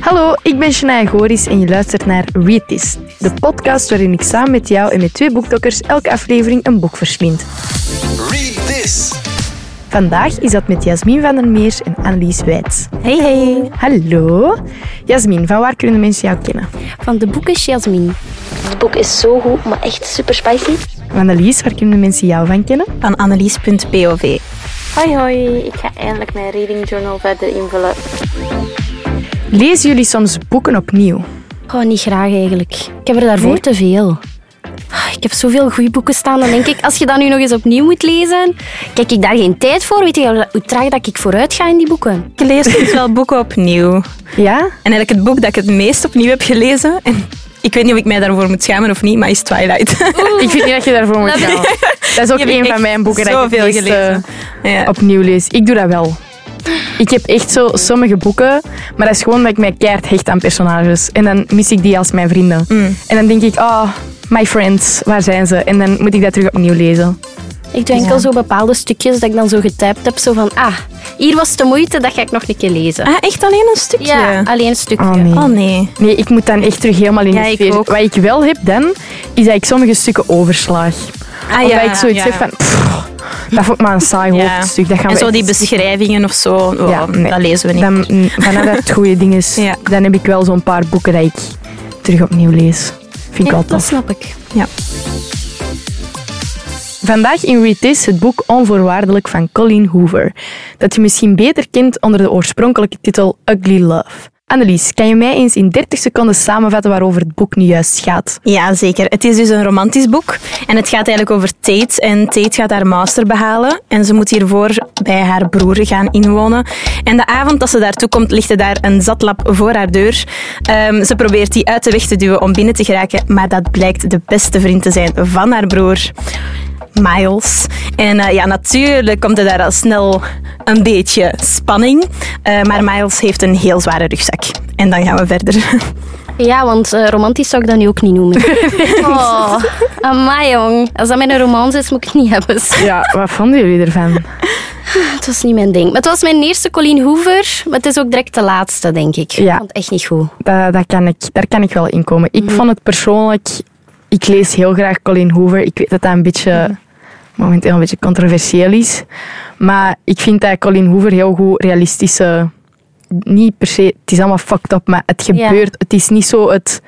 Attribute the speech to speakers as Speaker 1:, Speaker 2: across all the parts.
Speaker 1: Hallo, ik ben Shania Goris en je luistert naar Read This, de podcast waarin ik samen met jou en met twee boekdokkers elke aflevering een boek verslind.
Speaker 2: Read this.
Speaker 1: Vandaag is dat met Jasmin van der Meers en Annelies Wijts.
Speaker 3: Hey hey,
Speaker 1: Hallo. Jasmin, van waar kunnen mensen jou kennen?
Speaker 3: van de boeken Jasmin.
Speaker 4: Het boek is zo goed, maar echt super spicy.
Speaker 1: Annelies, waar kunnen mensen jou van kennen?
Speaker 5: van annelies.pov.
Speaker 4: Hoi hoi, ik ga eindelijk mijn reading journal verder invullen.
Speaker 1: Lezen jullie soms boeken opnieuw?
Speaker 3: Gewoon Oh, niet graag eigenlijk. Ik heb er daarvoor
Speaker 1: Nee?
Speaker 3: te veel. Ah, Ik heb zoveel goede boeken staan, dan denk ik, als je dat nu nog eens opnieuw moet lezen, kijk ik daar geen tijd voor. Weet je hoe traag dat ik vooruit ga in die boeken?
Speaker 5: Ik lees soms wel boeken opnieuw.
Speaker 1: Ja?
Speaker 5: En eigenlijk het boek dat ik het meest opnieuw heb gelezen, en ik weet niet of ik mij daarvoor moet schamen of niet, maar is Twilight.
Speaker 1: Ik vind niet dat je daarvoor moet gaan. Dat is ook
Speaker 5: Die heb ik
Speaker 1: een van
Speaker 5: echt
Speaker 1: mijn boeken dat ik het
Speaker 5: zoveel
Speaker 1: meest, eh,
Speaker 5: gelezen. Ja.
Speaker 1: opnieuw lees. Ik doe dat wel. Ik heb echt zo sommige boeken, maar dat is gewoon dat ik mij keihard hecht aan personages. En dan mis ik die als mijn vrienden.
Speaker 5: Mm.
Speaker 1: En dan denk ik, oh, my friends, waar zijn ze? En dan moet ik dat terug opnieuw lezen.
Speaker 3: Ik doe enkel zo bepaalde stukjes dat ik dan zo getypt heb, zo van, ah, hier was de moeite, dat ga ik nog een keer lezen.
Speaker 5: Ah, echt alleen een stukje?
Speaker 3: Ja, alleen een stukje.
Speaker 1: Oh, nee.
Speaker 5: Oh nee.
Speaker 1: Nee, ik moet dan echt terug helemaal in
Speaker 5: Ja,
Speaker 1: de
Speaker 5: ik
Speaker 1: sfeer.
Speaker 5: ook.
Speaker 1: Wat ik wel heb dan, is dat ik sommige stukken overslaag.
Speaker 5: Ah,
Speaker 1: Omdat ik zoiets
Speaker 5: ja.
Speaker 1: heb van, "Pff, dat vond ik maar een saai
Speaker 5: Ja.
Speaker 1: hoofdstuk. Dat gaan
Speaker 5: En
Speaker 1: we
Speaker 5: zo die
Speaker 1: echt
Speaker 5: beschrijvingen of zo, oh,
Speaker 1: Ja, nee.
Speaker 5: dat lezen we niet.
Speaker 1: Dan, mm, vanaf dat het goede ding is,
Speaker 5: Ja.
Speaker 1: dan heb ik wel zo'n paar boeken dat ik terug opnieuw lees. Vind ik
Speaker 3: Ja,
Speaker 1: wel
Speaker 3: dat
Speaker 1: tof.
Speaker 3: snap ik.
Speaker 1: Vandaag in Read This het boek Onvoorwaardelijk van Colleen Hoover. Dat je misschien beter kent onder de oorspronkelijke titel Ugly Love. Annelies, kan je mij eens in 30 seconden samenvatten waarover het boek nu juist gaat?
Speaker 5: Ja, zeker. Het is dus een romantisch boek. En het gaat eigenlijk over Tate. En Tate gaat haar master behalen. En ze moet hiervoor bij haar broer gaan inwonen. En de avond dat ze daartoe komt, ligt er daar een zatlap voor haar deur. Ehm, ze probeert die uit de weg te duwen om binnen te geraken. Maar dat blijkt de beste vriend te zijn van haar broer. Miles. En eh, ja, natuurlijk komt er daar al snel een beetje spanning. Eh, maar Miles heeft een heel zware rugzak. En dan gaan we verder.
Speaker 3: Ja, want eh, romantisch zou ik dat nu ook niet noemen. Oh, amai jong. Als dat mijn romans is, moet ik het niet hebben.
Speaker 1: Ja, wat vonden jullie ervan?
Speaker 3: Het was niet mijn ding. Maar het was mijn eerste Colleen Hoover, maar het is ook direct de laatste, denk ik.
Speaker 1: Ja.
Speaker 3: Ik vond het echt niet goed.
Speaker 1: Dat, dat kan ik, daar kan ik wel in komen. Ik vond het persoonlijk... Ik lees heel graag Colleen Hoover. Ik weet dat dat een beetje... Momenteel een beetje controversieel is. Maar ik vind dat Colleen Hoover heel goed realistische... Niet per se... Het is allemaal fucked up, maar het
Speaker 3: Ja.
Speaker 1: gebeurt. Het is niet zo het...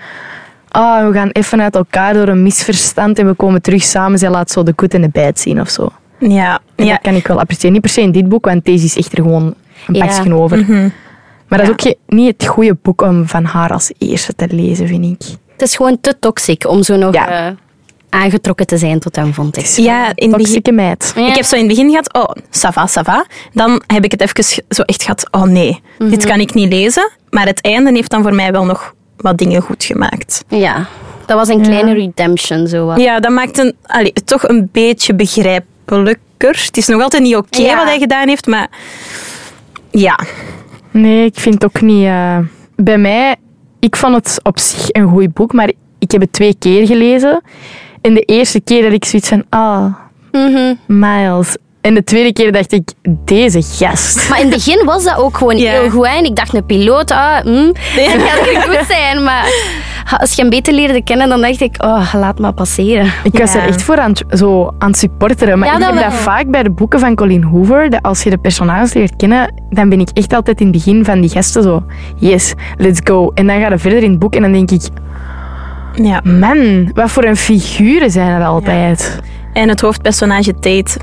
Speaker 1: Ah, we gaan even uit elkaar door een misverstand en we komen terug samen. Zij laat zo de goed en de bijt zien of zo.
Speaker 5: Ja,
Speaker 1: En
Speaker 5: ja
Speaker 1: dat kan ik wel appreciëren. Niet per se in dit boek, want deze is echt er gewoon een
Speaker 3: Ja.
Speaker 1: pakje over.
Speaker 5: Mhm.
Speaker 1: Maar dat is ook ge- niet het goede boek om van haar als eerste te lezen, vind ik.
Speaker 3: Het is gewoon te toxic om zo nog
Speaker 1: Ja.
Speaker 3: eh, aangetrokken te zijn tot hem, vond ik.
Speaker 5: Ja, in het begin.
Speaker 1: Toxieke meid.
Speaker 3: Ja.
Speaker 5: Ik heb zo in het begin gehad, oh, sava, sava. Dan heb ik het even ge- zo echt gehad, oh nee,
Speaker 3: Mhm.
Speaker 5: dit kan ik niet lezen. Maar het einde heeft dan voor mij wel nog wat dingen goed gemaakt.
Speaker 3: Ja, dat was een kleine redemption. Zo wat.
Speaker 5: Ja, dat maakt een, allee, het toch een beetje begrijpelijker. Het is nog altijd niet oké
Speaker 3: Ja.
Speaker 5: wat hij gedaan heeft, maar ja.
Speaker 1: Nee, ik vind het ook niet... eh, Bij mij, ik vond het op zich een goed boek, maar ik heb het twee keer gelezen. En de eerste keer dat ik zoiets van, ah,
Speaker 3: Mhm.
Speaker 1: Miles. En de tweede keer dacht ik, deze gast.
Speaker 3: Maar in het begin was dat ook gewoon
Speaker 5: Ja.
Speaker 3: heel goed. hè. En ik dacht, een piloot, ah, hm, dat gaat niet goed zijn. Maar als je hem beter leerde kennen, dan dacht ik, oh, laat maar passeren.
Speaker 1: Ik was
Speaker 5: Ja.
Speaker 1: er echt voor aan het, zo, aan het supporteren. Maar
Speaker 3: Ja,
Speaker 1: ik
Speaker 3: dat
Speaker 1: heb dat
Speaker 3: wel.
Speaker 1: vaak bij de boeken van Colleen Hoover. Dat als je de personages leert kennen, dan ben ik echt altijd in het begin van die gasten zo... Yes, let's go. En dan ga je verder in het boek en dan denk ik...
Speaker 5: ja.
Speaker 1: Man, wat voor een figuren zijn er altijd.
Speaker 5: En het hoofdpersonage Tate,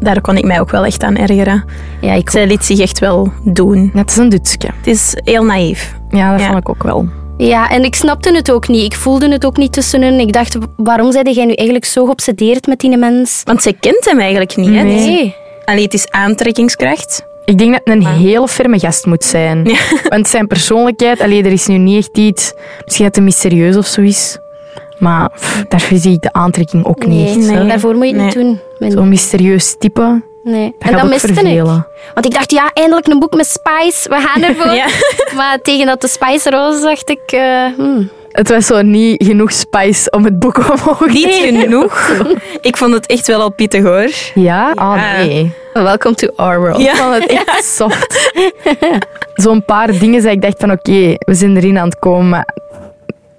Speaker 5: daar kon ik mij ook wel echt aan ergeren.
Speaker 3: Ja, ik
Speaker 5: Zij liet zich echt wel doen.
Speaker 1: Net als een dutske.
Speaker 5: Het is heel naïef.
Speaker 1: Ja, dat
Speaker 5: Ja.
Speaker 1: vond ik ook wel.
Speaker 3: Ja, en ik snapte het ook niet. Ik voelde het ook niet tussen hun. Ik dacht, waarom zijn jij nu eigenlijk zo geobsedeerd met die mens?
Speaker 5: Want zij kent hem eigenlijk niet. Hè?
Speaker 1: Nee.
Speaker 3: Nee.
Speaker 5: Allee, het is aantrekkingskracht.
Speaker 1: Ik denk dat het een heel ferme gast moet zijn. Want zijn persoonlijkheid... Allee, er is nu niet echt iets... Misschien dat hij mysterieus of zo is. Maar pff, daar zie ik de aantrekking ook niet
Speaker 3: Nee,
Speaker 1: echt. hè.
Speaker 3: daarvoor moet je het niet doen.
Speaker 1: Zo'n mysterieus type...
Speaker 3: Nee.
Speaker 1: Dat gaat ook vervelen.
Speaker 3: ik. Want ik dacht, ja, eindelijk een boek met spice. We gaan ervoor.
Speaker 5: Ja.
Speaker 3: Maar tegen dat de spice roos dacht ik... eh, hmm.
Speaker 1: Het was zo niet genoeg spice om het boek omhoog te
Speaker 5: Niet genoeg. Ik vond het echt wel al pittig hoor.
Speaker 1: Ja? Ah, nee.
Speaker 5: Welcome to our world.
Speaker 1: Ik vond het echt soft. zo'n paar dingen dat ik dacht van oké, we zijn erin aan het komen. Maar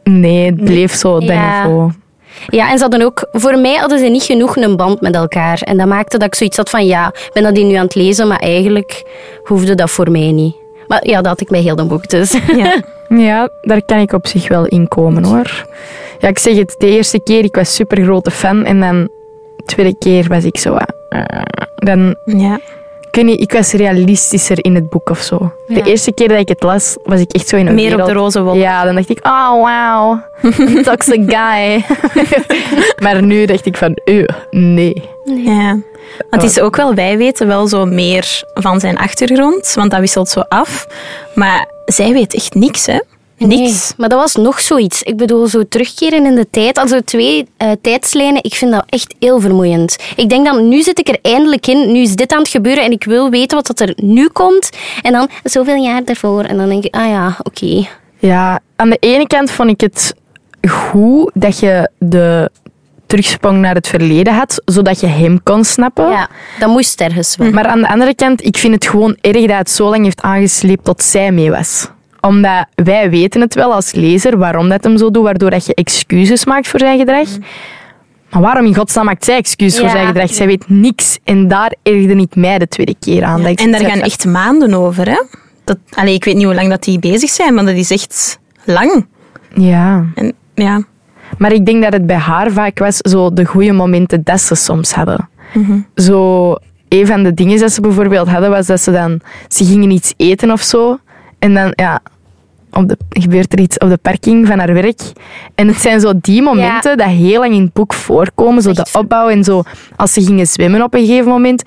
Speaker 1: nee, het bleef zo op dat
Speaker 3: Ja.
Speaker 1: niveau.
Speaker 3: Ja, en ze hadden ook, voor mij hadden ze niet genoeg een band met elkaar. En dat maakte dat ik zoiets had van, ja, ik ben dat hier nu aan het lezen, maar eigenlijk hoefde dat voor mij niet. Maar ja, dat had ik bij heel de boek dus.
Speaker 5: Ja.
Speaker 1: Ja, daar kan ik op zich wel in komen hoor. Ja, ik zeg het, de eerste keer, ik was super grote fan. En dan de tweede keer was ik zo... eh, Dan,
Speaker 5: ja.
Speaker 1: ik, weet niet, ik was realistischer in het boek of zo. De
Speaker 3: Ja.
Speaker 1: eerste keer dat ik het las, was ik echt zo in een
Speaker 5: Meer op
Speaker 1: wereld-
Speaker 5: de roze wolk.
Speaker 1: Ja, dan dacht ik, oh wow, toxic guy. maar nu dacht ik van, eh, nee.
Speaker 5: Ja. Want het is ook wel, wij weten wel zo meer van zijn achtergrond, want dat wisselt zo af. Maar zij weet echt niks, hè? Niks.
Speaker 3: Nee, maar dat was nog zoiets. Ik bedoel, zo terugkeren in de tijd, al zo twee eh, tijdslijnen, ik vind dat echt heel vermoeiend. Ik denk dan, nu zit ik er eindelijk in, nu is dit aan het gebeuren en ik wil weten wat dat er nu komt. En dan, zoveel jaar daarvoor. En dan denk ik, ah ja, oké.
Speaker 5: Oh.
Speaker 1: Ja, aan de ene kant vond ik het goed dat je de terugsprong naar het verleden had, zodat je hem kon snappen.
Speaker 3: Ja, dat moest ergens
Speaker 5: Mm.
Speaker 3: wel.
Speaker 1: Maar aan de andere kant, ik vind het gewoon erg dat het zo lang heeft aangesleept tot zij mee was. Omdat wij weten het wel als lezer waarom dat hem zo doet, waardoor dat je excuses maakt voor zijn gedrag.
Speaker 5: Mm.
Speaker 1: Maar waarom in godsnaam maakt zij excuses voor
Speaker 3: Ja.
Speaker 1: zijn gedrag? Zij weet niks en daar ergde ik mij de tweede keer aan. Dat ik
Speaker 5: En daar
Speaker 1: zoiets
Speaker 5: gaan
Speaker 1: had
Speaker 5: echt maanden over, hè? Dat, allee, ik weet niet hoe lang dat die bezig zijn, maar dat is echt lang.
Speaker 1: van- Ja.
Speaker 5: En, ja.
Speaker 1: Maar ik denk dat het bij haar vaak was zo de goede momenten dat ze soms hadden. Zo, een van de dingen dat ze bijvoorbeeld hadden was dat ze dan, ze gingen iets eten of zo. En dan, ja, op de, gebeurt er iets op de parking van haar werk. En het zijn zo die momenten dat heel lang in het boek voorkomen. Zo de
Speaker 3: Echt.
Speaker 1: opbouw en zo. Als ze gingen zwemmen op een gegeven moment.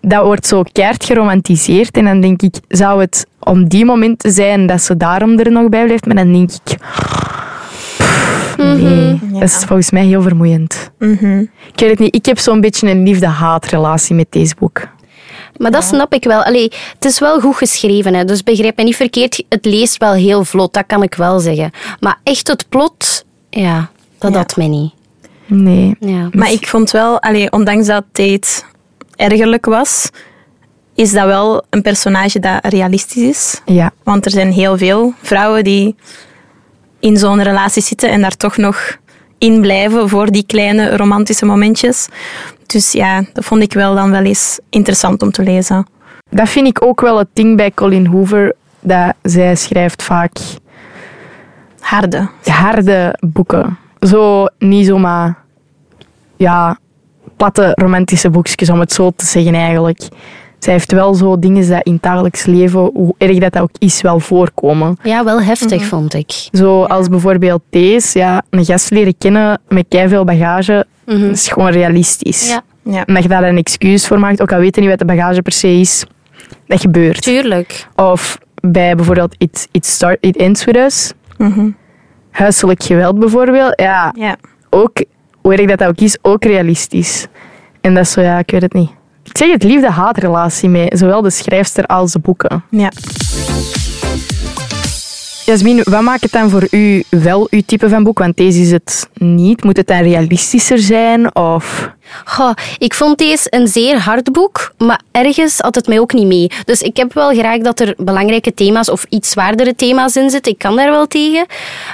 Speaker 1: Dat wordt zo keihard geromantiseerd. En dan denk ik, zou het om die momenten zijn dat ze daarom er nog bij blijft? Maar dan denk ik, Nee, dat is volgens mij heel vermoeiend. Ik weet het niet, ik heb zo'n beetje een liefde-haatrelatie met deze boek.
Speaker 3: Maar dat snap ik wel. Allee, het is wel goed geschreven, hè, dus begrijp me niet verkeerd. Het leest wel heel vlot, dat kan ik wel zeggen. Maar echt het plot, ja, dat
Speaker 5: Ja.
Speaker 3: had mij niet.
Speaker 1: Nee.
Speaker 3: Ja.
Speaker 5: Maar ik vond wel, allee, ondanks dat Tate ergerlijk was, is dat wel een personage dat realistisch is.
Speaker 1: Ja.
Speaker 5: Want er zijn heel veel vrouwen die in zo'n relatie zitten en daar toch nog in blijven voor die kleine romantische momentjes. Dus ja, dat vond ik wel dan wel eens interessant om te lezen.
Speaker 1: Dat vind ik ook wel het ding bij Colin Hoover, dat zij schrijft vaak
Speaker 5: Harde.
Speaker 1: harde boeken. Zo, niet zomaar, ja, platte romantische boekjes, om het zo te zeggen eigenlijk. Zij heeft wel zo dingen die in het dagelijks leven, hoe erg dat, dat ook is, wel voorkomen.
Speaker 3: Ja, wel heftig
Speaker 5: Mhm.
Speaker 3: vond ik.
Speaker 1: Zo als bijvoorbeeld deze, ja, een gast leren kennen met veel bagage,
Speaker 5: Mhm.
Speaker 1: dat is gewoon realistisch.
Speaker 3: Ja,
Speaker 5: Ja.
Speaker 1: En dat je daar een excuus voor maakt, ook al weet je niet wat de bagage per se is, dat gebeurt.
Speaker 3: tuurlijk.
Speaker 1: Of bij bijvoorbeeld It, it, start, it Ends With Us,
Speaker 5: Mhm.
Speaker 1: huiselijk geweld bijvoorbeeld, ja,
Speaker 5: ja.
Speaker 1: ook, hoe erg dat dat ook is, ook realistisch. En dat is zo, ja, ik weet het niet. Ik zeg het liefde-haatrelatie mee, zowel de schrijfster als de boeken.
Speaker 5: ja.
Speaker 1: Jasmin, wat maakt het dan voor u wel uw type van boek? Want deze is het niet. Moet het dan realistischer zijn? Of...
Speaker 3: Goh, ik vond deze een zeer hard boek, maar ergens had het mij ook niet mee. Dus ik heb wel graag dat er belangrijke thema's of iets zwaardere thema's in zitten. Ik kan daar wel tegen.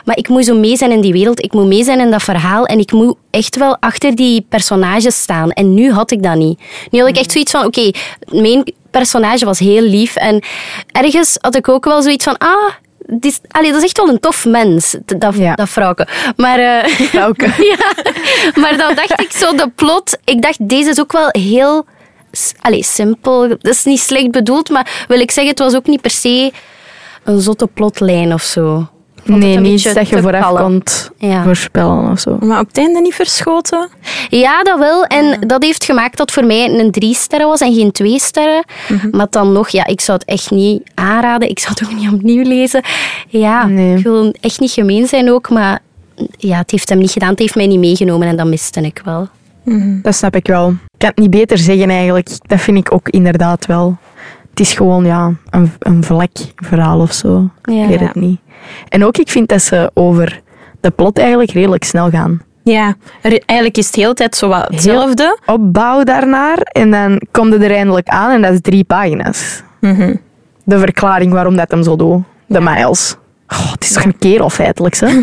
Speaker 3: Maar ik moet zo mee zijn in die wereld, ik moet mee zijn in dat verhaal en ik moet echt wel achter die personages staan. En nu had ik dat niet. Nu had ik echt zoiets van, oké, mijn personage was heel lief en ergens had ik ook wel zoiets van, ah... Die is, allee, dat is echt wel een tof mens, dat, dat,
Speaker 1: Ja.
Speaker 3: dat vrouwke. Maar eh, ja, maar dan dacht ik zo de plot. Ik dacht, deze is ook wel heel s- allee, simpel. Dat is niet slecht bedoeld, maar wil ik zeggen, het was ook niet per se een zotte plotlijn of zo.
Speaker 1: Nee,
Speaker 3: een
Speaker 1: niet
Speaker 3: beetje
Speaker 1: dat je
Speaker 3: te
Speaker 1: vooraf
Speaker 3: kalm.
Speaker 1: kunt
Speaker 3: Ja.
Speaker 1: voorspellen of zo.
Speaker 5: Maar op het einde niet verschoten.
Speaker 3: Ja, dat wel. En dat heeft gemaakt dat het voor mij een drie sterren was en geen twee sterren. Maar dan nog, ja, ik zou het echt niet aanraden. Ik zou het ook niet opnieuw lezen. Ja,
Speaker 1: Nee.
Speaker 3: ik wil echt niet gemeen zijn ook, maar ja, het heeft hem niet gedaan. Het heeft mij niet meegenomen en dat miste ik wel.
Speaker 1: Dat snap ik wel. Ik kan het niet beter zeggen eigenlijk. Dat vind ik ook inderdaad wel. Het is gewoon ja, een, een vlek verhaal of zo.
Speaker 3: Ja.
Speaker 1: ik weet het
Speaker 5: Ja.
Speaker 1: niet. En ook ik vind dat ze over de plot eigenlijk redelijk snel gaan.
Speaker 5: Ja, er- eigenlijk is het de hele tijd zo wat hetzelfde. Mhm.
Speaker 1: Opbouw daarnaar en dan kom je er eindelijk aan en dat is drie pagina's. de verklaring waarom dat hem zo doet. De Miles. Oh, het is toch een kerel feitelijk, hè?
Speaker 3: En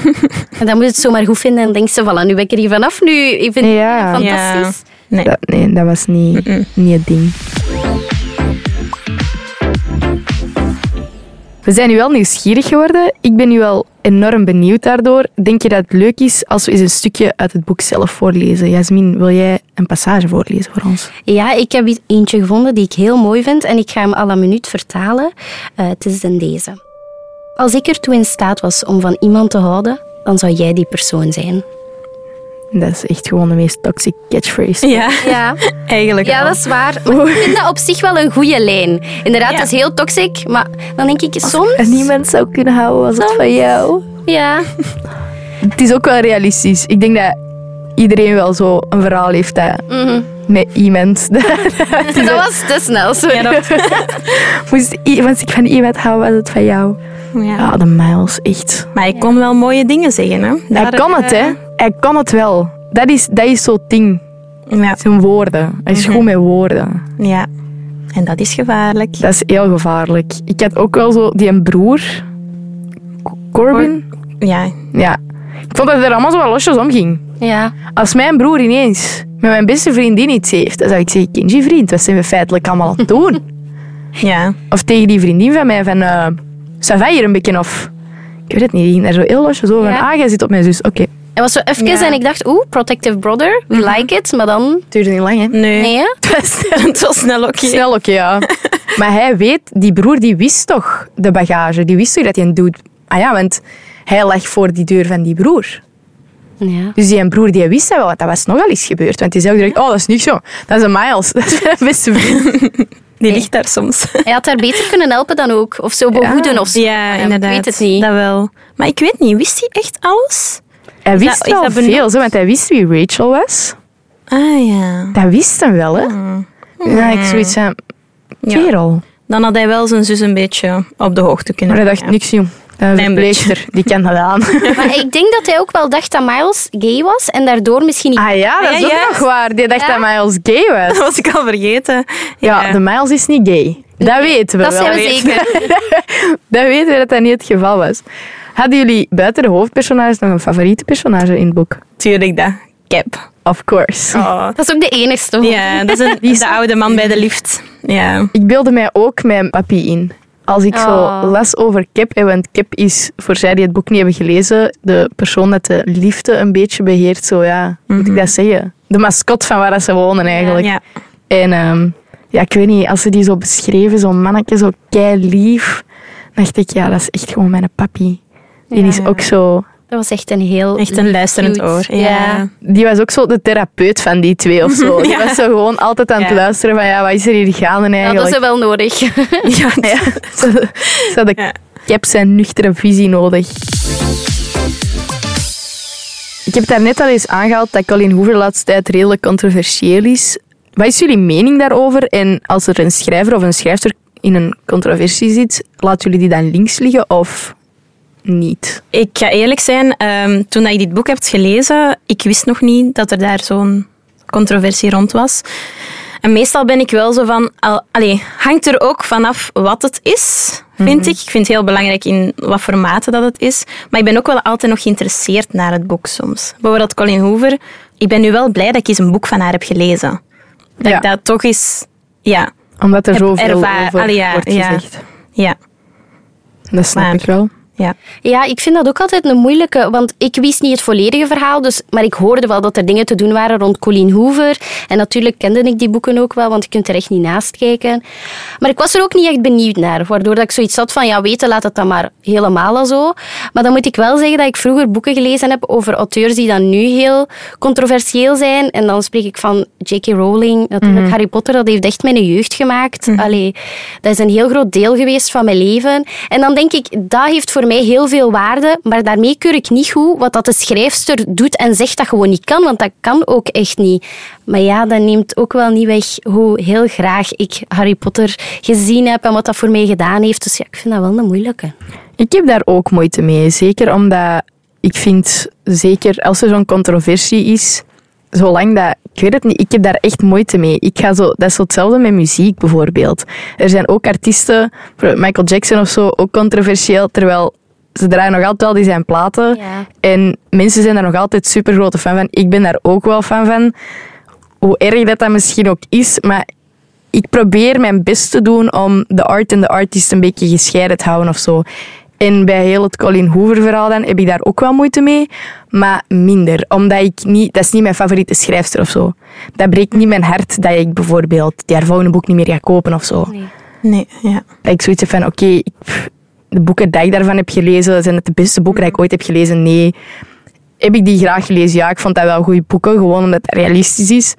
Speaker 3: dan moet je het zomaar goed vinden en denk je, voilà, nu ben ik er hier vanaf. Nu, ik vind
Speaker 1: Ja.
Speaker 3: het fantastisch.
Speaker 5: Nee.
Speaker 1: Dat, nee, dat was niet, niet het ding. We zijn nu wel nieuwsgierig geworden. Ik ben nu wel enorm benieuwd daardoor. Denk je dat het leuk is als we eens een stukje uit het boek zelf voorlezen? Jasmin, wil jij een passage voorlezen voor ons?
Speaker 3: Ja, ik heb iets- eentje gevonden die ik heel mooi vind en ik ga hem à la minuut vertalen. Eh, het is dan deze. Als ik ertoe in staat was om van iemand te houden, dan zou jij die persoon zijn.
Speaker 1: Dat is echt gewoon de meest toxic catchphrase.
Speaker 5: Ja,
Speaker 3: Ja,
Speaker 5: eigenlijk
Speaker 3: ja
Speaker 5: wel.
Speaker 3: dat is waar. Maar ik vind dat op zich wel een goede lijn. Inderdaad,
Speaker 5: Ja.
Speaker 3: het is heel toxic, maar dan denk ik soms...
Speaker 1: En niemand zou kunnen houden als het van jou.
Speaker 3: Ja,
Speaker 1: Het is ook wel realistisch. Ik denk dat iedereen wel zo een verhaal heeft hè,
Speaker 5: Mhm.
Speaker 1: met iemand.
Speaker 3: dat was te snel, sorry.
Speaker 1: Moest i- want ik van iemand hou, was het van jou.
Speaker 5: Ja.
Speaker 1: Ja, de Miles, echt.
Speaker 5: Maar ik kon wel mooie dingen zeggen. Hè.
Speaker 1: Hij
Speaker 5: Daar,
Speaker 1: kan het,
Speaker 5: eh,
Speaker 1: hè. Hij kan het wel. Dat is, dat is zo'n ding.
Speaker 5: Ja.
Speaker 1: Zijn woorden. Hij is goed met woorden.
Speaker 5: ja. En dat is gevaarlijk.
Speaker 1: Dat is heel gevaarlijk. Ik had ook wel zo die een broer. Co- Corbin?
Speaker 5: Ja.
Speaker 1: Ja. Ik vond dat het er allemaal zo wel losjes om ging.
Speaker 3: Ja.
Speaker 1: Als mijn broer ineens met mijn beste vriendin iets heeft, dan zou ik zeggen, kindje vriend, wat zijn we feitelijk allemaal aan het doen?
Speaker 5: Ja.
Speaker 1: Of tegen die vriendin van mij van, eh ça va hier een beetje of... Ik weet het niet, die ging daar zo heel losjes over.
Speaker 3: Ja.
Speaker 1: van, Ah, jij zit op mijn zus. Oké.
Speaker 3: Het was zo even
Speaker 5: Ja.
Speaker 3: en ik dacht, oeh, protective brother, we like it, maar dan...
Speaker 1: Duurde niet lang, hè?
Speaker 5: Nee.
Speaker 3: Nee, hè?
Speaker 1: Het was
Speaker 5: Het was snel oké.
Speaker 1: Snel oké, ja. maar hij weet, die broer die wist toch de bagage. Die wist toch dat hij een dude... Ah ja, want hij lag voor die deur van die broer.
Speaker 3: Ja.
Speaker 1: Dus die en broer die wist dat wel, want dat was nogal eens gebeurd. Want die zei ook direct, oh, dat is niet zo. Dat is een Miles. Dat is mijn beste vriend.
Speaker 5: Die ligt daar soms.
Speaker 3: Hij had haar beter kunnen helpen dan ook. Of zo behoeden of zo.
Speaker 5: Ja, inderdaad.
Speaker 3: Ik weet het niet.
Speaker 5: Dat wel. Maar ik weet niet, wist hij echt alles?
Speaker 1: Hij wist
Speaker 5: dat- is
Speaker 1: wel
Speaker 5: dat benoemd?
Speaker 1: veel, zo, want hij wist wie Rachel was.
Speaker 5: Ah ja.
Speaker 1: Dat wist hem wel, hè. Ja, ik zoiets van,
Speaker 5: Ja.
Speaker 1: kerel.
Speaker 5: Dan had hij wel zijn zus een beetje op de hoogte kunnen
Speaker 1: Maar hij dacht,
Speaker 5: brengen.
Speaker 1: niks, joh. Een
Speaker 5: Klein beetje.
Speaker 1: verpleegster, die kan dat aan.
Speaker 3: Maar ik denk dat hij ook wel dacht dat Miles gay was en daardoor misschien niet.
Speaker 1: Ah ja, dat is
Speaker 5: Ja,
Speaker 1: ook
Speaker 5: ja.
Speaker 1: nog waar. Die dacht
Speaker 3: Ja.
Speaker 1: dat Miles gay was.
Speaker 5: Dat was ik al vergeten.
Speaker 1: Ja, de Miles is niet gay. Dat weten we
Speaker 3: dat
Speaker 1: wel.
Speaker 3: zijn we zeker.
Speaker 1: Dat weten we dat dat niet het geval was. Hadden jullie buiten de hoofdpersonages nog een favoriete personage in het boek?
Speaker 5: Tuurlijk dat. Cap.
Speaker 1: Of course.
Speaker 5: Oh.
Speaker 3: Dat is ook de enigste. hoor.
Speaker 5: Ja, dat is een, de oude man bij de lift. Ja.
Speaker 1: Ik beelde mij ook mijn papi in. Als ik
Speaker 3: Oh.
Speaker 1: zo las over Kip, en want Kip is, voor zij die het boek niet hebben gelezen, de persoon dat de liefde een beetje beheert, zo ja, moet ik dat zeggen? De mascot van waar dat ze wonen eigenlijk.
Speaker 5: Ja.
Speaker 1: En ehm, ja, ik weet niet, als ze die zo beschreven, zo'n mannetje, zo kei lief, dacht ik, ja, dat is echt gewoon mijn papi. Die is ook zo
Speaker 3: Dat was echt een heel.
Speaker 5: Echt een
Speaker 3: lief,
Speaker 5: luisterend
Speaker 3: cute-
Speaker 5: oor. Ja.
Speaker 3: Ja.
Speaker 1: Die was ook zo de therapeut van die twee of zo. Die was zo gewoon altijd aan het
Speaker 5: Ja.
Speaker 1: luisteren van ja, wat is er hier gaande
Speaker 3: Ja, dat
Speaker 1: eigenlijk?
Speaker 3: is wel nodig.
Speaker 5: Ja.
Speaker 1: Ze- Ze hadden
Speaker 5: Ja.
Speaker 1: ik heb zijn nuchtere visie nodig. Ik heb daarnet al eens aangehaald dat Colin Hoover de laatste tijd redelijk controversieel is. Wat is jullie mening daarover? En als er een schrijver of een schrijfster in een controversie zit, laten jullie die dan links liggen of niet?
Speaker 5: Ik ga eerlijk zijn, ehm, toen dat ik dit boek heb gelezen, ik wist nog niet dat er daar zo'n controversie rond was. En meestal ben ik wel zo van, al, allee, hangt er ook vanaf wat het is, vind ik. Ik vind het heel belangrijk in wat voor mate dat het is. Maar ik ben ook wel altijd nog geïnteresseerd naar het boek soms. Bijvoorbeeld Colin Hoover. Ik ben nu wel blij dat ik eens een boek van haar heb gelezen. Dat
Speaker 1: Ja.
Speaker 5: ik dat toch eens... Ja,
Speaker 1: Omdat er
Speaker 5: Heb
Speaker 1: zoveel
Speaker 5: ervaar-
Speaker 1: over
Speaker 5: Allee, ja,
Speaker 1: wordt
Speaker 5: ja.
Speaker 1: gezegd.
Speaker 5: ja,
Speaker 1: Dat snap
Speaker 5: Maar-
Speaker 1: ik wel.
Speaker 5: ja.
Speaker 3: Ja, ik vind dat ook altijd een moeilijke, want ik wist niet het volledige verhaal, dus, maar ik hoorde wel dat er dingen te doen waren rond Colleen Hoover. En natuurlijk kende ik die boeken ook wel, want je kunt er echt niet naast kijken. Maar ik was er ook niet echt benieuwd naar, waardoor dat ik zoiets had van, ja, weten laat het dan maar helemaal al zo. Maar dan moet ik wel zeggen dat ik vroeger boeken gelezen heb over auteurs die dan nu heel controversieel zijn. En dan spreek ik van J.K. Rowling, natuurlijk Harry Potter, dat heeft echt mijn jeugd gemaakt. Allee, dat is een heel groot deel geweest van mijn leven. En dan denk ik, dat heeft voor mij heel veel waarde, maar daarmee keur ik niet goed wat dat de schrijfster doet en zegt dat gewoon niet kan, want dat kan ook echt niet. Maar ja, dat neemt ook wel niet weg hoe heel graag ik Harry Potter gezien heb en wat dat voor mij gedaan heeft. Dus ja, ik vind dat wel een moeilijke.
Speaker 1: Ik heb daar ook moeite mee. Zeker omdat ik vind, zeker als er zo'n controversie is, zolang dat ik weet het niet. Ik heb daar echt moeite mee. Ik ga zo, dat is zo hetzelfde met muziek bijvoorbeeld. Er zijn ook artiesten, bijvoorbeeld Michael Jackson of zo, ook controversieel, terwijl ze draaien nog altijd wel die zijn platen.
Speaker 3: Ja.
Speaker 1: En mensen zijn daar nog altijd super grote fan van. Ik ben daar ook wel fan van. Hoe erg dat dat misschien ook is, maar ik probeer mijn best te doen om de art en de artist een beetje gescheiden te houden of zo. En bij heel het Colin Hoover verhaal dan heb ik daar ook wel moeite mee, maar minder. Omdat ik niet, dat is niet mijn favoriete schrijfster of zo. Dat breekt niet mijn hart dat ik bijvoorbeeld die haar volgende boek niet meer ga kopen of zo.
Speaker 3: Nee.
Speaker 5: Nee, ja.
Speaker 1: Dat ik zoiets heb van, oké, ik- pff, de boeken die ik daarvan heb gelezen, zijn het de beste boeken die ik ooit heb gelezen? Nee. Heb ik die graag gelezen? Ja, ik vond dat wel goede boeken, gewoon omdat het realistisch is.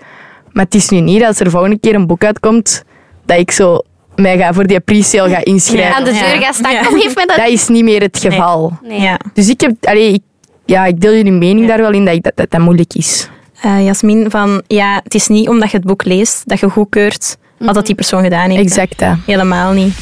Speaker 1: Maar het is nu niet dat als er volgende keer een boek uitkomt, dat ik zo mij ga voor die pre-sale ga inschrijven.
Speaker 3: Aan de
Speaker 5: Ja.
Speaker 3: deur gaan staan.
Speaker 5: Ja.
Speaker 3: Kom, geef mij dat.
Speaker 1: Dat is niet meer het geval.
Speaker 3: Nee.
Speaker 5: ja.
Speaker 1: Dus ik, heb, allee, ik, ja, ik deel jullie mening daar wel in dat, ik- dat, dat dat moeilijk is.
Speaker 5: Eh, Jasmin, van ja, het is niet omdat je het boek leest dat je goedkeurt wat dat die persoon gedaan heeft.
Speaker 1: Mhm. Exact. dat.
Speaker 5: Helemaal niet.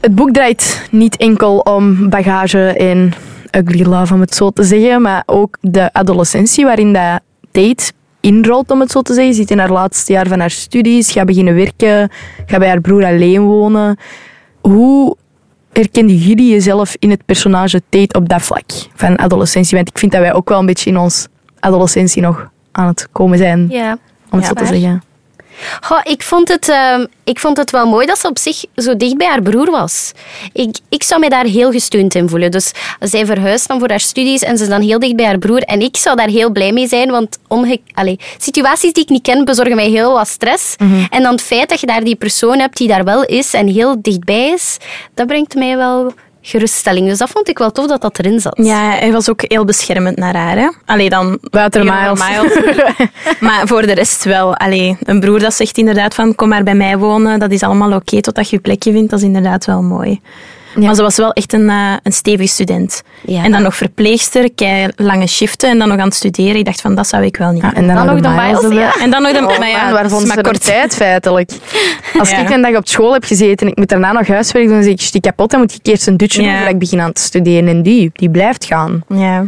Speaker 1: Het boek draait niet enkel om bagage en ugly love, om het zo te zeggen, maar ook de adolescentie waarin dat Tate inrolt, om het zo te zeggen. Ze Zit in haar laatste jaar van haar studies, gaat beginnen werken, gaat bij haar broer alleen wonen. Hoe herkenden jullie jezelf in het personage Tate op dat vlak van adolescentie? Want ik vind dat wij ook wel een beetje in ons adolescentie nog aan het komen zijn,
Speaker 3: Ja.
Speaker 1: om het
Speaker 5: ja,
Speaker 1: zo te
Speaker 3: waar.
Speaker 1: zeggen.
Speaker 3: Goh, ik, vond het, ehm, ik vond het wel mooi dat ze op zich zo dicht bij haar broer was. Ik, ik zou mij daar heel gesteund in voelen. Dus als zij verhuist dan voor haar studies en ze is dan heel dicht bij haar broer. En ik zou daar heel blij mee zijn, want onge- Allee, situaties die ik niet ken bezorgen mij heel wat stress.
Speaker 5: Mhm.
Speaker 3: En dan het feit dat je daar die persoon hebt die daar wel is en heel dichtbij is, dat brengt mij wel geruststelling. Dus dat vond ik wel tof dat dat erin zat.
Speaker 5: Ja, hij was ook heel beschermend naar haar. Hè? Allee, dan...
Speaker 1: Wouter
Speaker 5: tegenover
Speaker 1: Miles.
Speaker 5: Miles. maar voor de rest wel. Allee, een broer dat zegt inderdaad van kom maar bij mij wonen, dat is allemaal oké totdat je je plekje vindt, dat is inderdaad wel mooi. Maar ze was wel echt een, eh een stevig student.
Speaker 3: Ja.
Speaker 5: En dan nog verpleegster, kei lange shiften en dan nog aan het studeren. Ik dacht van, dat zou ik wel niet
Speaker 1: Ja,
Speaker 5: doen.
Speaker 1: en dan,
Speaker 3: Dan
Speaker 1: nog
Speaker 3: nog
Speaker 1: de
Speaker 3: de
Speaker 1: Miles
Speaker 3: Miles,
Speaker 1: erbij.
Speaker 3: ja.
Speaker 5: En dan nog de... maar Ah ja,
Speaker 1: Ja, waar
Speaker 5: het is
Speaker 1: vond ze
Speaker 5: maar
Speaker 1: kort
Speaker 5: kort.
Speaker 1: tijd feitelijk? Als
Speaker 5: Ja.
Speaker 1: ik een dag op school heb gezeten en ik moet daarna nog huiswerk doen, dan zeg ik, die kapot, dan moet ik eerst een dutje
Speaker 5: Ja.
Speaker 1: doen voordat ik begin aan te studeren. En die, die blijft gaan.
Speaker 5: Ja.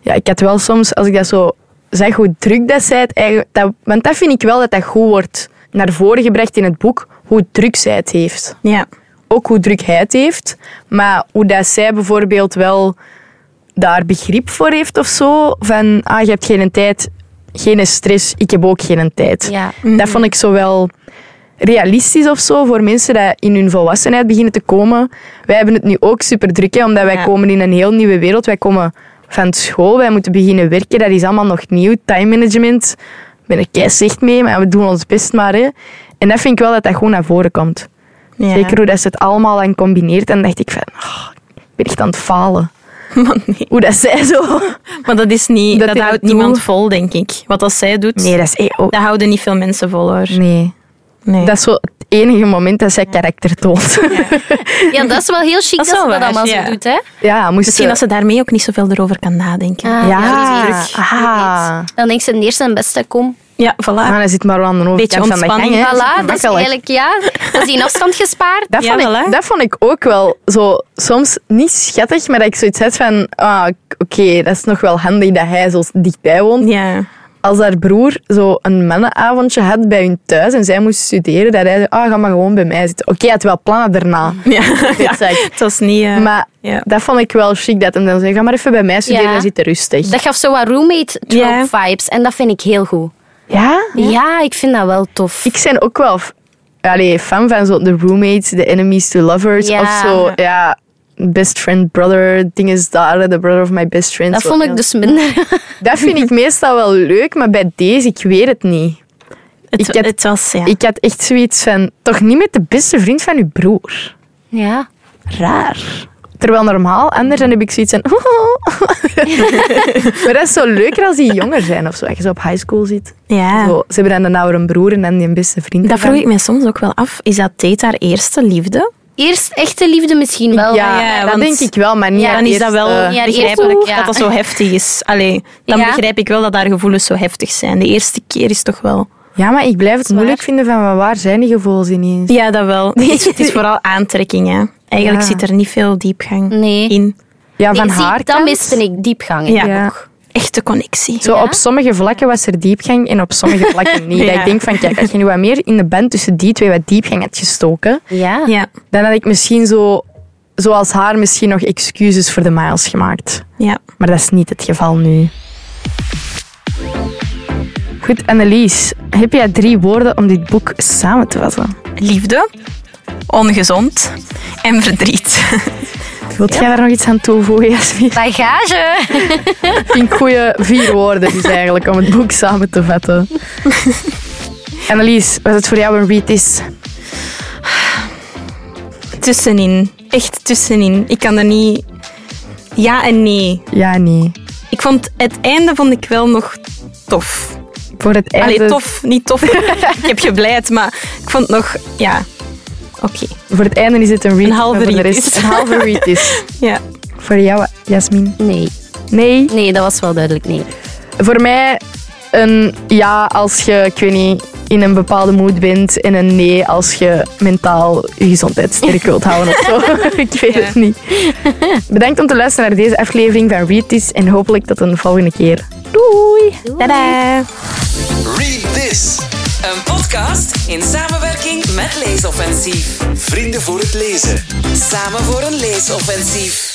Speaker 1: Ja, ik had wel soms, als ik dat zo zeg, hoe druk dat zij het eigenlijk... Dat, want dat vind ik wel dat dat goed wordt naar voren gebracht in het boek, hoe druk zij het heeft
Speaker 5: ja.
Speaker 1: ook hoe druk hij het heeft, maar hoe dat zij bijvoorbeeld wel daar begrip voor heeft of zo. Van, ah, je hebt geen tijd, geen stress, ik heb ook geen tijd.
Speaker 3: Ja.
Speaker 1: Dat vond ik zo wel realistisch of zo voor mensen die in hun volwassenheid beginnen te komen. Wij hebben het nu ook super druk, hè, omdat wij
Speaker 5: Ja.
Speaker 1: komen in een heel nieuwe wereld. Wij komen van school, wij moeten beginnen werken, dat is allemaal nog nieuw. Time management, ik ben er keizig mee, maar we doen ons best maar. Hè. En dat vind ik wel dat dat gewoon naar voren komt.
Speaker 5: Ja.
Speaker 1: Zeker hoe dat ze het allemaal dan combineert. En dacht ik van, ah, ik ben echt aan het falen.
Speaker 5: Maar nee.
Speaker 1: Hoe dat zij zo...
Speaker 5: Maar dat, is niet,
Speaker 1: Dat
Speaker 5: dat,
Speaker 1: hij dat
Speaker 5: houdt
Speaker 1: doet.
Speaker 5: niemand vol, denk ik. Wat als zij doet,
Speaker 1: Nee, dat is echt ook...
Speaker 5: dat houden niet veel mensen vol, hoor.
Speaker 1: Nee. Dus,
Speaker 5: Nee.
Speaker 1: Dat is zo het enige moment dat zij karakter toont.
Speaker 3: Ja, dat is wel heel chic
Speaker 5: Dat
Speaker 3: dat,
Speaker 5: is
Speaker 3: ze
Speaker 5: wel
Speaker 3: dat
Speaker 5: waar,
Speaker 3: allemaal
Speaker 5: ja.
Speaker 3: zo doet, hè?
Speaker 1: Ja, moest eh,
Speaker 5: Misschien
Speaker 1: ze-
Speaker 5: dat ze daarmee ook niet zoveel erover kan nadenken.
Speaker 3: Ah,
Speaker 1: Ja.
Speaker 3: dat is druk.
Speaker 1: Aha.
Speaker 5: Ah.
Speaker 3: Je weet. Dan denkt ze het eerste en beste, kom.
Speaker 5: Ja, voilà.
Speaker 1: Ah, hij zit maar wel aan de overkant van de gang.
Speaker 5: ontspanning. dus
Speaker 1: hè.
Speaker 3: Voilà, dat is
Speaker 1: makkelijk.
Speaker 3: eigenlijk, ja. Dat is in afstand gespaard.
Speaker 1: Dat,
Speaker 5: Ja,
Speaker 1: vond
Speaker 5: wel,
Speaker 1: ik,
Speaker 5: hè?
Speaker 1: dat vond ik ook wel zo soms niet schattig, maar dat ik zoiets had van... Ah, Oké, dat is nog wel handig dat hij zo dichtbij woont.
Speaker 5: Ja.
Speaker 1: als haar broer zo een mannenavondje had bij hun thuis en zij moest studeren, dat hij zei, ah, ga maar gewoon bij mij zitten. Oké, hij had wel plannen daarna.
Speaker 5: Ja.
Speaker 1: Dit zeg ik.
Speaker 5: Het was niet... eh,
Speaker 1: Maar
Speaker 5: ja.
Speaker 1: dat vond ik wel chic, dat hem dan zei, ga maar even bij mij studeren,
Speaker 3: Ja.
Speaker 1: dan zit hij rustig.
Speaker 3: Dat gaf zo wat roommate trope
Speaker 5: Ja.
Speaker 3: vibes. En dat vind ik heel goed.
Speaker 1: Ja?
Speaker 3: Ja, ik vind dat wel tof.
Speaker 1: Ik ben ook wel f- allee, fan van zo de roommates, de enemies to lovers,
Speaker 3: Ja.
Speaker 1: of zo, ja... Best friend, brother, ding is daar, the brother of my best friend.
Speaker 3: dat
Speaker 1: Zo,
Speaker 3: vond
Speaker 1: ja.
Speaker 3: ik dus minder.
Speaker 1: Dat vind ik meestal wel leuk, maar bij deze, ik weet het niet.
Speaker 5: het,
Speaker 1: ik had-
Speaker 5: het was... Ja.
Speaker 1: Ik had echt zoiets van, toch niet met de beste vriend van uw broer.
Speaker 3: Ja.
Speaker 1: raar. Terwijl normaal, anders dan heb ik zoiets van... maar dat is zo leuker als die jonger zijn of zo. Als je zo op high school zit.
Speaker 5: ja.
Speaker 1: Zo, ze hebben dan een oudere broer en dan die beste vriend.
Speaker 5: Ah. Dat vroeg ik me soms ook wel af. Is dat Tate haar eerste liefde?
Speaker 3: Eerst echte liefde misschien wel.
Speaker 1: Ja,
Speaker 5: Ja,
Speaker 1: dat
Speaker 5: want-
Speaker 1: denk ik wel, maar niet
Speaker 5: Ja,
Speaker 1: aan
Speaker 5: dan is
Speaker 1: eerst,
Speaker 5: dat wel
Speaker 1: eh,
Speaker 3: ja, die
Speaker 5: begrijpelijk
Speaker 3: eerste-
Speaker 5: dat dat zo heftig is. Allee, dan
Speaker 3: Ja.
Speaker 5: begrijp ik wel dat haar gevoelens zo heftig zijn. De eerste keer is toch wel...
Speaker 1: ja, maar ik blijf het moeilijk vinden van maar waar zijn die gevoelens ineens?
Speaker 5: Ja, dat wel. Het is, het is vooral aantrekking, hè. Eigenlijk
Speaker 1: Ja.
Speaker 5: zit er niet veel diepgang
Speaker 3: Nee.
Speaker 5: in.
Speaker 1: Ja, van
Speaker 3: Nee, zie,
Speaker 1: haar
Speaker 3: dan
Speaker 1: kant.
Speaker 3: miste ik diepgang in
Speaker 5: Ja.
Speaker 3: dat
Speaker 1: Ja.
Speaker 3: boek.
Speaker 5: echte connectie.
Speaker 1: Zo
Speaker 3: Ja?
Speaker 1: op sommige vlakken was er diepgang en op sommige vlakken niet. Dat
Speaker 5: Ja.
Speaker 1: ik denk van, kijk, als je nu wat meer in de band tussen die twee wat diepgang had gestoken,
Speaker 3: Ja.
Speaker 5: Ja,
Speaker 1: dan had ik misschien zo, zoals haar, misschien nog excuses voor de miles gemaakt.
Speaker 5: ja.
Speaker 1: Maar dat is niet het geval nu. Goed, Annelies, heb jij drie woorden om dit boek samen te vatten?
Speaker 5: Liefde, ongezond en verdriet.
Speaker 1: Wilt jij daar nog iets aan toevoegen, Jasmin?
Speaker 3: Bagage.
Speaker 1: Ik vind goede vier woorden dus eigenlijk om het boek samen te vatten. Annelies, was het voor jou een read is?
Speaker 5: Tussenin. Echt tussenin. Ik kan er niet... Ja en nee.
Speaker 1: Ja, nee.
Speaker 5: Ik vond het einde vond ik wel nog tof.
Speaker 1: Voor het einde,
Speaker 5: Allee, tof. Niet tof. ik heb gebleid, maar ik vond het nog... Ja. Oké.
Speaker 1: Voor het einde is het een read.
Speaker 5: Een halve
Speaker 1: maar voor de
Speaker 5: read
Speaker 1: rest-
Speaker 5: is.
Speaker 1: Een halve read is.
Speaker 5: Ja.
Speaker 1: Voor jou, Jasmin?
Speaker 3: Nee.
Speaker 1: Nee.
Speaker 3: Nee, dat was wel duidelijk nee.
Speaker 1: Voor mij een ja als je, ik weet niet, in een bepaalde mood bent. En een nee als je mentaal je gezondheid sterk wilt houden of zo. ik weet het niet. Bedankt om te luisteren naar deze aflevering van Read This. En hopelijk tot een volgende keer. Doei!
Speaker 5: Tadaa.
Speaker 2: Read This.
Speaker 6: Een podcast in samenwerking met Leesoffensief.
Speaker 2: Vrienden voor het lezen.
Speaker 6: Samen voor een leesoffensief.